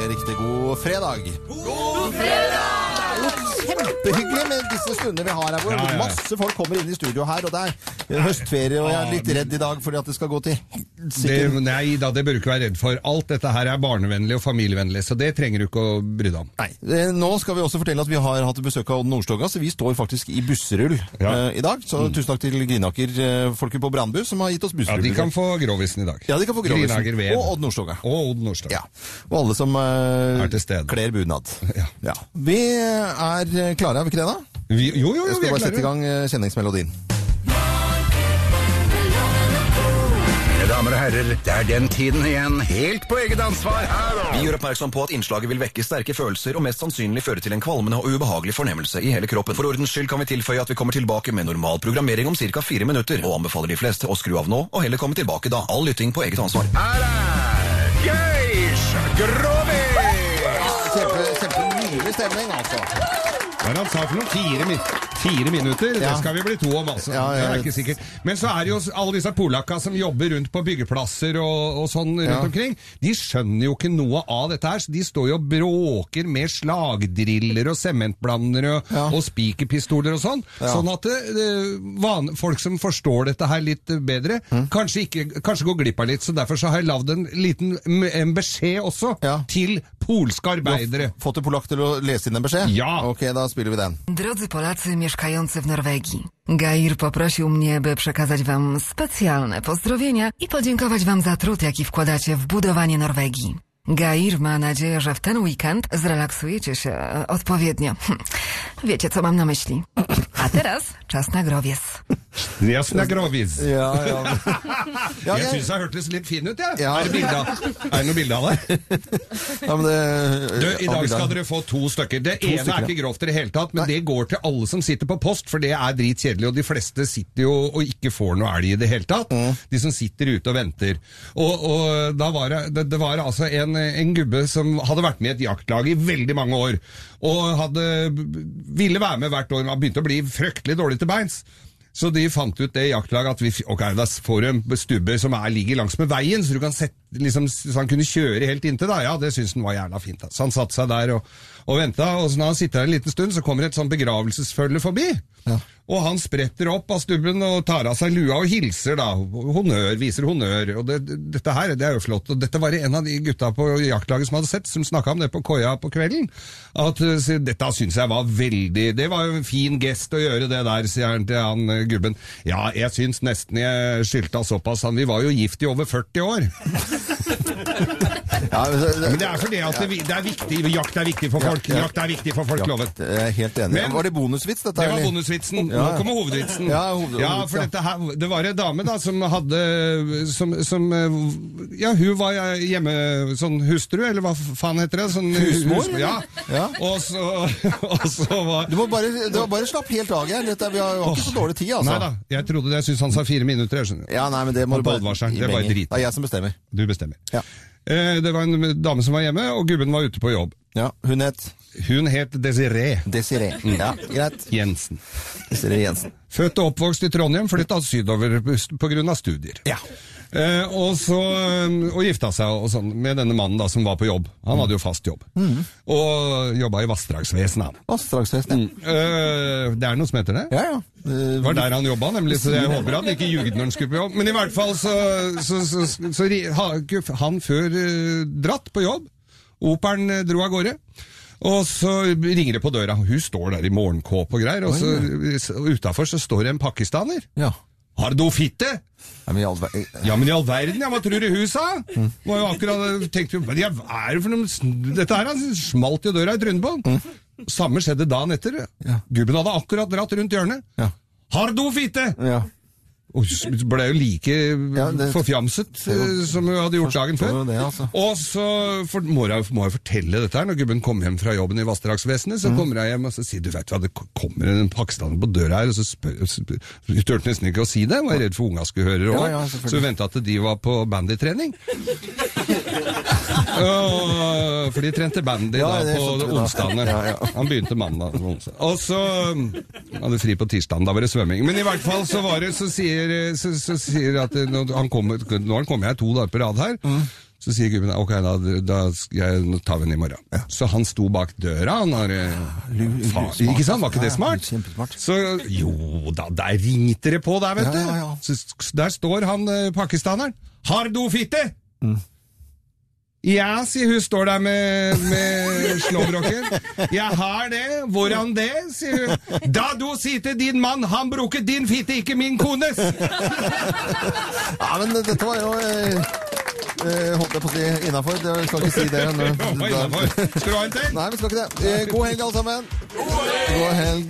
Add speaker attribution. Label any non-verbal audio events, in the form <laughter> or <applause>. Speaker 1: riktig god fredag. Kjempehyggelig med disse stundene vi har her hvor
Speaker 2: Ja, ja, ja.
Speaker 1: masse folk kommer inn i studio her, og det er høstferie, og jeg er litt redd i dag fordi at det skal gå til
Speaker 2: Det,
Speaker 1: helsike.
Speaker 2: nei da, det bør du ikke være redd for. Alt dette her er barnevennlig og familievennlig, så det trenger du ikke å bry deg om.
Speaker 1: Nei. eh, Nå skal vi også fortelle at vi har hatt besøk av Odd Nordstoga, så vi står faktisk i busserull
Speaker 2: Ja. Mm.
Speaker 1: eh, i dag. Så tusen takk til Grinaker, eh, folket på Brandbu, som har gitt oss
Speaker 2: Ja,
Speaker 1: busserull.
Speaker 2: De kan få grovisen i dag.
Speaker 1: Ja, de kan få
Speaker 2: Grinager
Speaker 1: Grovisen.
Speaker 2: Ved.
Speaker 1: Og Odd Nordstoga.
Speaker 2: Og Odd Nordstad.
Speaker 1: Ja. Og alle som eh,
Speaker 2: Er til stede.
Speaker 1: kler bunad.
Speaker 2: <laughs> Ja.
Speaker 1: Vi er eh, klare, er vi ikke det da?
Speaker 2: Vi, jo, jo, jo,
Speaker 1: Jeg
Speaker 2: vi
Speaker 1: skal
Speaker 2: er
Speaker 1: bare sette i
Speaker 2: klare.
Speaker 1: gang eh, kjenningsmelodien.
Speaker 3: Mine damer og herrer, det er den tiden igjen, helt på eget ansvar her og...
Speaker 4: Vi gjør oppmerksom på at innslaget vil vekke sterke følelser og mest sannsynlig føre til en kvalmende og ubehagelig fornemmelse i hele kroppen. For ordens skyld kan vi tilføye at vi kommer tilbake med normal programmering om ca. fire minutter, og anbefaler de fleste å skru av nå og heller komme tilbake da. All lytting på eget ansvar.
Speaker 3: Her er Geir Grovis!
Speaker 1: Kjempe, Kjempenydelig stemning, altså.
Speaker 2: Hva er det han sa for noe? Fire, min fire minutter? Det
Speaker 1: Ja.
Speaker 2: skal vi bli to om, altså.
Speaker 1: Ja, ja.
Speaker 2: Det er ikke sikkert. Men så er det jo alle disse polakka som jobber rundt på byggeplasser og, og sånn rundt
Speaker 1: Ja.
Speaker 2: omkring. De skjønner jo ikke noe av dette her, så de står jo og bråker med slagdriller og sementblandere og,
Speaker 1: Ja.
Speaker 2: og spikerpistoler og sånn.
Speaker 1: Ja.
Speaker 2: Sånn at eh, van, folk som forstår dette her litt eh, bedre,
Speaker 1: Mm.
Speaker 2: kanskje, ikke, kanskje går glipp av litt. Så derfor så har jeg lagd en liten m- en beskjed også
Speaker 1: Ja.
Speaker 2: til polske arbeidere.
Speaker 1: Fått en polakk til å lese inn en beskjed?
Speaker 2: Ja.
Speaker 1: Ok, da spiller vi den.
Speaker 5: Drodzy Polacy mieszkający w Norwegii, Gair poprosił mnie, by przekazać Wam specjalne pozdrowienia i podziękować Wam za trud, jaki wkładacie w budowanie Norwegii. Gair ma nadzieję, że w ten weekend zrelaksujecie się e, odpowiednio. <laughs> Hm, Wiecie, co mam na myśli. A teraz czas na growiec.
Speaker 2: Jasna grovis.
Speaker 1: <laughs> Ja, ja. ja,
Speaker 2: jeg
Speaker 1: jeg,
Speaker 2: syns jeg hørtes litt fin ut, jeg.
Speaker 1: Ja.
Speaker 2: Er, det bilde av- er det noe bilde av
Speaker 1: <laughs>
Speaker 2: det?
Speaker 1: ja, men det, eh,
Speaker 2: Du, I dag skal dere få to stykker. Det ene
Speaker 1: stykker,
Speaker 2: er ikke grovt i det hele tatt, men det går til alle som sitter på post, for det er dritkjedelig, og de fleste sitter jo og ikke får noe elg i det hele tatt.
Speaker 1: Mm.
Speaker 2: De som sitter ute og venter. Og, og da var det, det, det var altså en, en gubbe som hadde vært med i et jaktlag i veldig mange år, og hadde, ville være med hvert år, men han begynte å bli fryktelig dårlig til beins. Så de fant ut det i jaktlaget at vi, f- ok, da får du en stubbe som er, ligger langs med veien, så, du kan sette, liksom, så han kunne kjøre helt inntil. Da. Ja, det syntes han var jævla fint. Da. Så han satte seg der og, og venta, og så når han sitter der en liten stund, så kommer et sånn begravelsesfølge forbi. Og han spretter opp av stubben og tar av seg lua og hilser, da. Honnør, viser honnør. Og det, dette her, det er jo flott. Og dette var det en av de gutta på jaktlaget som hadde sett, som snakka om det på koia på kvelden. At eh, sier, dette syns jeg var veldig Det var jo en fin gest å gjøre det der, sier han til han eh, gubben. Ja, jeg syns nesten jeg skyldte han såpass. Han, vi var jo gift i over 40 år.
Speaker 1: ja, men det-
Speaker 2: Men det er fordi at det, vi- det er viktig. Jakt er viktig for folk.
Speaker 1: ja.
Speaker 2: Jakt er viktig for folk, loven.
Speaker 1: Jeg er helt enig.
Speaker 2: Men-
Speaker 1: var det bonusvits, dette?
Speaker 2: Det var
Speaker 1: eller?
Speaker 2: bonusvitsen. Nå
Speaker 1: Ja, ja.
Speaker 2: kommer hovedvitsen.
Speaker 1: Ja, hoved-
Speaker 2: Ja,
Speaker 1: hovedvits,
Speaker 2: for
Speaker 1: ja.
Speaker 2: dette her, det var en dame da som hadde som, som eh, Ja, hun var hjemme sånn hustru, eller hva faen heter det? Sånn,
Speaker 1: Husmor?
Speaker 2: hus- ja.
Speaker 1: Ja.
Speaker 2: Og, så, <laughs> og så var
Speaker 1: Du må bare, du må bare slappe helt av, Geir. Dette- Vi har jo ikke så dårlig tid, altså.
Speaker 2: Nei da, jeg trodde det. Jeg syns han sa fire minutter. jeg skjønner.
Speaker 1: Ja, nei, men det må
Speaker 2: Og
Speaker 1: du bare
Speaker 2: advarselen,
Speaker 1: gi
Speaker 2: det er bare
Speaker 1: penger.
Speaker 2: drit.
Speaker 1: Det er jeg som bestemmer.
Speaker 2: Du bestemmer.
Speaker 1: Ja.
Speaker 2: Eh, Det var en dame som var hjemme, og gubben var ute på jobb.
Speaker 1: Ja, Hun het
Speaker 2: Hun het Desiree
Speaker 1: Desiree.
Speaker 2: Mm.
Speaker 1: Ja, greit.
Speaker 2: Jensen.
Speaker 1: Desiree Jensen.
Speaker 2: Født og oppvokst i Trondheim, flytta sydover pga. studier.
Speaker 1: Ja.
Speaker 2: Eh, og, så, eh, og gifta seg og sånn, med denne mannen da, som var på jobb.
Speaker 1: Mm.
Speaker 2: Han hadde jo fast jobb. Og jobba i vassdragsvesenet. han.
Speaker 1: Vassdragsfest, ja.
Speaker 2: Mm. Eh, det er noe som heter det?
Speaker 1: Ja, Eh, ja.
Speaker 2: Det var der han jobba, nemlig, så jeg håper han ikke ljugde når han skulle på jobb. Men i hvert fall så, så, så, så, ri- har ikke han før eh, dratt på jobb. Operen eh, dro av gårde. Og så ringer det på døra. Hun står der i morgenkåpe og greier, og så utafor så står det en pakistaner.
Speaker 1: Ja.
Speaker 2: Har du fitte?
Speaker 1: Nei, men i all ver- eh,
Speaker 2: Ja, men i all verden, ja, hva tror du hun sa? Var jo akkurat, tenkte jo, men jeg, hva er det for noe, sn- dette her, han smalt jo døra i trynet på han. Samme skjedde dagen etter. Gubben hadde akkurat dratt rundt hjørnet.
Speaker 1: Ja.
Speaker 2: Har du fitte?
Speaker 1: Ja.
Speaker 2: Og s- ble jo like
Speaker 1: Ja, det-
Speaker 2: forfjamset eh, som hun hadde gjort dagen før.
Speaker 1: jo det, altså.
Speaker 2: Og så for, må, jeg, må jeg fortelle dette her, når gubben kommer hjem fra jobben i vassdragsvesenet,
Speaker 1: Mm.
Speaker 2: så kommer jeg hjem og så sier du vet hva, det kommer en pakistaner på døra her, og så spør, spør, jeg turte nesten ikke å si det, jeg var redd for unga skulle høre det
Speaker 1: Ja,
Speaker 2: også.
Speaker 1: ja, selvfølgelig.
Speaker 2: så hun ventet til de var
Speaker 1: <laughs>
Speaker 2: på bandytrening. Åh, for de trente bandy
Speaker 1: Ja,
Speaker 2: da,
Speaker 1: det skjønte vi
Speaker 2: på
Speaker 1: da.
Speaker 2: onsdagene.
Speaker 1: Ja, ja.
Speaker 2: Han begynte mandag og onsdag. Og så um, hadde fri på tirsdagen, da var det svømming. Men i hvert fall så
Speaker 1: Mm.
Speaker 2: var det, så sier, så, så sier at eh, nå- han kommer, nå har han kommet her to dager på rad her. Så sier gubben ok, da, da skal jeg, nå tar vi den i morgen. Så han sto bak døra. Han har, eh,
Speaker 1: lu-
Speaker 2: faen,
Speaker 1: smart,
Speaker 2: ikke sant, var ikke det
Speaker 1: ass. Ja,
Speaker 2: smart?
Speaker 1: kjempesmart.
Speaker 2: Så jo da, der ringte det på der, vet
Speaker 1: Ja,
Speaker 2: du.
Speaker 1: ja, ja.
Speaker 2: Så, s- der står han eh, pakistaneren. Har du fitte?
Speaker 1: Mm.
Speaker 2: Ja, sier hun, står der med, med slåbroken. Jeg har det. Hvordan det, sier hun. Da du sier til din mann, han bruker din fitte, ikke min
Speaker 1: <laughs>
Speaker 2: kones.
Speaker 1: Ja, men dette var jo eh, eh, Holdt jeg på å si innafor. Jeg skal ikke si det. men-
Speaker 2: Hva er det for? Skal du ha en til?
Speaker 1: Nei, vi skal ikke det. Eh, god helg, alle sammen. God helg.